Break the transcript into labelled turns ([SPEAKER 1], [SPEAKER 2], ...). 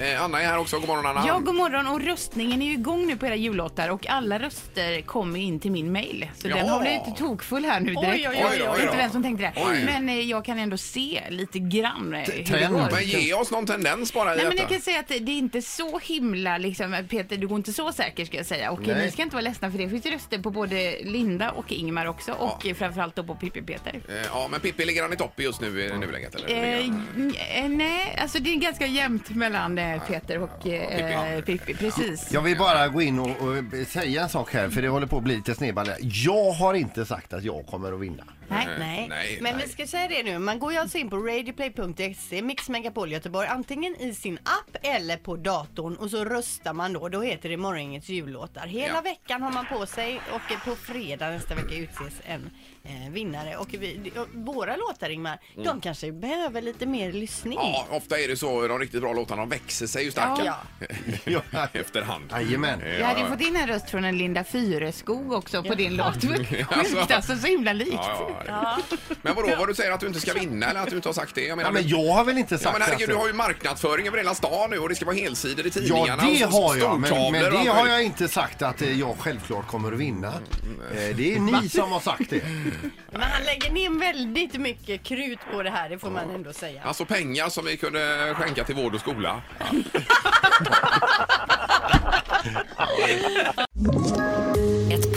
[SPEAKER 1] Eh, Anna är här också. God morgon, Anna.
[SPEAKER 2] Ja, god morgon och röstningen är ju igång nu på era jullåtar och alla röster kommer in till min mail. Så den
[SPEAKER 1] Ja.
[SPEAKER 2] har blivit tokfull här nu
[SPEAKER 1] oj,
[SPEAKER 2] direkt.
[SPEAKER 1] oj, oj.
[SPEAKER 2] Inte vem som tänkte det.
[SPEAKER 1] Oj.
[SPEAKER 2] Men eh, jag kan ändå se lite grann eh, hur det
[SPEAKER 3] trend.
[SPEAKER 2] går.
[SPEAKER 1] Men ge oss någon tendens bara i
[SPEAKER 2] Nej, men jag
[SPEAKER 1] detta.
[SPEAKER 2] kan säga att det det är inte så himla liksom, Peter, du går inte så säker ska jag säga. Och eh,
[SPEAKER 3] Nej.
[SPEAKER 2] ni ska inte vara ledsna för det. Det finns ju röster på både Linda och Ingmar också och eh, framförallt då på Pippi-Peter.
[SPEAKER 1] Eh, ja, men Pippi, ligger han i topp just nu i nuläget? Eller?
[SPEAKER 2] Eh,
[SPEAKER 1] Ligger han-
[SPEAKER 2] n- eh, nej, alltså det är ganska jämnt mellan eh, Peter och eh, Pippi. Precis.
[SPEAKER 3] Jag vill bara gå in och, och säga en sak här, för det håller på att bli lite snedballe. Jag har inte sagt att jag kommer att vinna.
[SPEAKER 4] Nej,
[SPEAKER 1] Eh,
[SPEAKER 4] nej.
[SPEAKER 1] nej,
[SPEAKER 4] Men
[SPEAKER 1] nej.
[SPEAKER 4] vi ska säga det nu. Man går ju alltså in på radioplay.se, Mix Megapol Göteborg, antingen i sin app eller på datorn och så röstar man då. Då heter det Morgongängets jullåtar. Hela
[SPEAKER 1] Ja.
[SPEAKER 4] veckan har man på sig och eh, på fredag nästa vecka utses en eh, vinnare. Och vi, och våra låtar Ingmar, de kanske behöver lite mer lyssning.
[SPEAKER 1] Mm. Ja, ofta är det så. De riktigt bra låtarna de växer sig ju starka
[SPEAKER 2] Ja.
[SPEAKER 3] Ja.
[SPEAKER 1] efterhand.
[SPEAKER 3] Jajamän.
[SPEAKER 1] Eh,
[SPEAKER 2] Jag hade ju fått in en röst från en Linda Fyreskog också på din låt. Sjukt alltså, så himla likt.
[SPEAKER 1] Ja, ja, det är- Men vadå, vad du säger att du inte ska vinna eller att du inte har sagt det? Jag menar,
[SPEAKER 3] Ja, men
[SPEAKER 1] du-
[SPEAKER 3] jag har väl inte
[SPEAKER 1] Ja,
[SPEAKER 3] sagt
[SPEAKER 1] men herregud, du
[SPEAKER 3] att...
[SPEAKER 1] har ju marknadsföring över hela stan nu och det ska vara helsidor i tidningarna.
[SPEAKER 3] Ja, det
[SPEAKER 1] och så-
[SPEAKER 3] har jag, men,
[SPEAKER 1] stortavlor
[SPEAKER 3] men
[SPEAKER 1] och allt
[SPEAKER 3] det har
[SPEAKER 1] möjligt. Mm,
[SPEAKER 3] jag inte sagt att eh, jag självklart kommer att vinna. Eh, Det är ni som har sagt det.
[SPEAKER 4] Men han lägger ner väldigt mycket krut på det här, det får man ändå säga.
[SPEAKER 1] Alltså pengar som vi kunde skänka till vård och skola.
[SPEAKER 5] Ett